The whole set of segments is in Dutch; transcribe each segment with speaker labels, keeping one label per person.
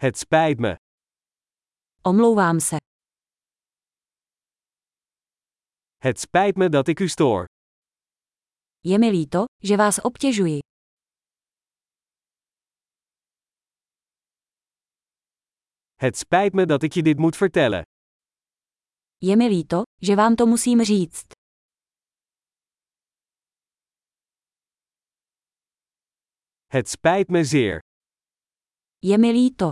Speaker 1: Het spijt me.
Speaker 2: Omlouvám se.
Speaker 1: Het spijt me dat ik u stoor.
Speaker 2: Je mi líto, že vás obtěžuji.
Speaker 1: Het spijt me dat ik je dit moet vertellen.
Speaker 2: Je mi líto, že vám to musím říct.
Speaker 1: Het spijt me zeer.
Speaker 2: Je mi líto.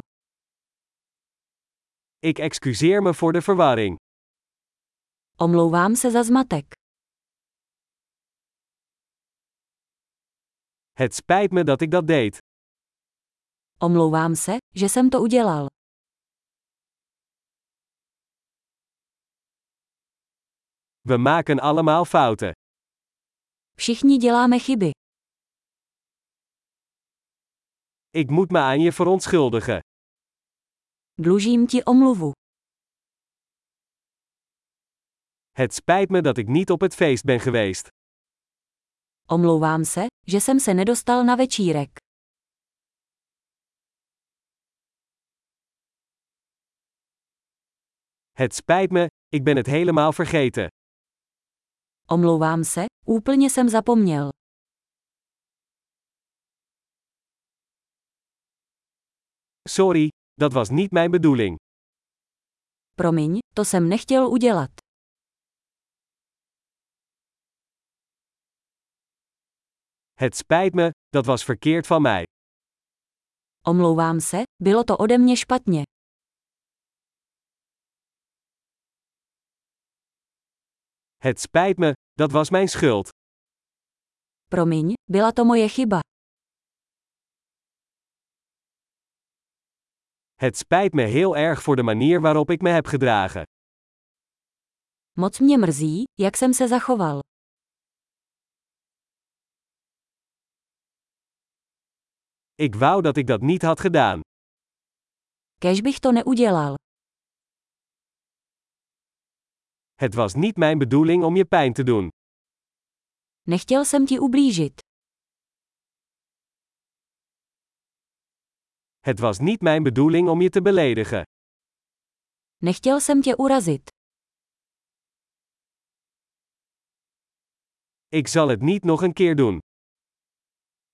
Speaker 1: Ik excuseer me voor de verwarring.
Speaker 2: Omlouvám se za zmatek.
Speaker 1: Het spijt me dat ik dat deed.
Speaker 2: Omlouvám se, že jsem to udělal.
Speaker 1: We maken allemaal fouten.
Speaker 2: Všichni děláme chyby.
Speaker 1: Ik moet me aan je verontschuldigen.
Speaker 2: Dlužím ti omluvu.
Speaker 1: Het spijt me dat ik niet op het feest ben geweest.
Speaker 2: Omlouvám se, že jsem se nedostal na večírek.
Speaker 1: Het spijt me, ik ben het helemaal vergeten.
Speaker 2: Omlouvám se, úplně jsem zapomněl.
Speaker 1: Sorry, dat was niet mijn bedoeling.
Speaker 2: Promiň, to jsem nechtěl udělat.
Speaker 1: Het spijt me, dat was verkeerd van mij.
Speaker 2: Omlouvám se, bylo to ode mě špatně.
Speaker 1: Het spijt me, dat was mijn schuld.
Speaker 2: Promiň, byla to moje chyba.
Speaker 1: Het spijt me heel erg voor de manier waarop ik me heb gedragen.
Speaker 2: Moc mě mrzí, jak jsem se zachoval.
Speaker 1: Ik wou dat ik dat niet had gedaan.
Speaker 2: Kež bych to neudělal.
Speaker 1: Het was niet mijn bedoeling om je pijn te doen.
Speaker 2: Nechtěl jsem ti ublížit.
Speaker 1: Het was niet mijn bedoeling om je te beledigen.
Speaker 2: Nechtěl jsem tě urazit.
Speaker 1: Ik zal het niet nog een keer doen.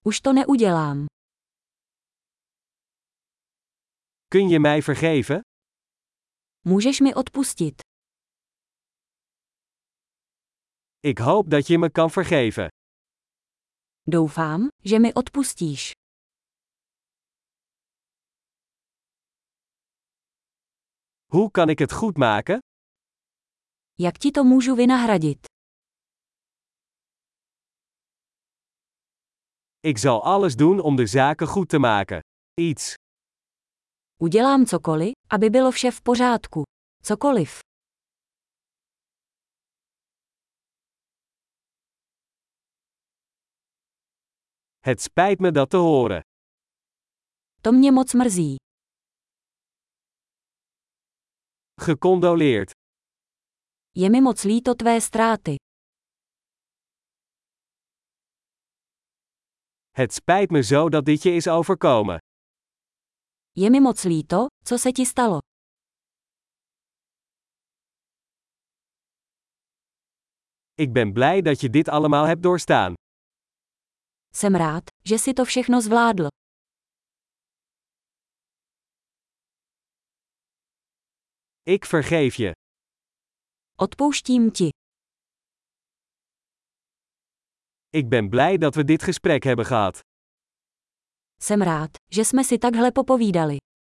Speaker 2: Už to neudělám.
Speaker 1: Kun je mij vergeven?
Speaker 2: Můžeš mi odpustit.
Speaker 1: Ik hoop dat je me kan vergeven.
Speaker 2: Doufám, že mi odpustíš.
Speaker 1: Hoe kan ik het goed maken?
Speaker 2: Jak ti to můžu vynahradit?
Speaker 1: Ik zal alles doen om de zaken goed te maken. Iets.
Speaker 2: Udělám cokoliv, aby bylo vše v pořádku. Cokoliv.
Speaker 1: Het spijt me dat te horen.
Speaker 2: To mě moc mrzí.
Speaker 1: Gecondoleerd.
Speaker 2: Je mi moc líto tvé ztráty.
Speaker 1: Het spijt me zo dat dit je is overkomen.
Speaker 2: Je mi moc líto, co se ti stalo.
Speaker 1: Ik ben blij dat je dit allemaal hebt doorstaan.
Speaker 2: Jsem rád, že si to všechno zvládl.
Speaker 1: Ik vergeef je.
Speaker 2: Odpouštím ti.
Speaker 1: Ik ben blij dat we dit gesprek hebben gehad.
Speaker 2: Jsem rád, že jsme si takhle popovídali.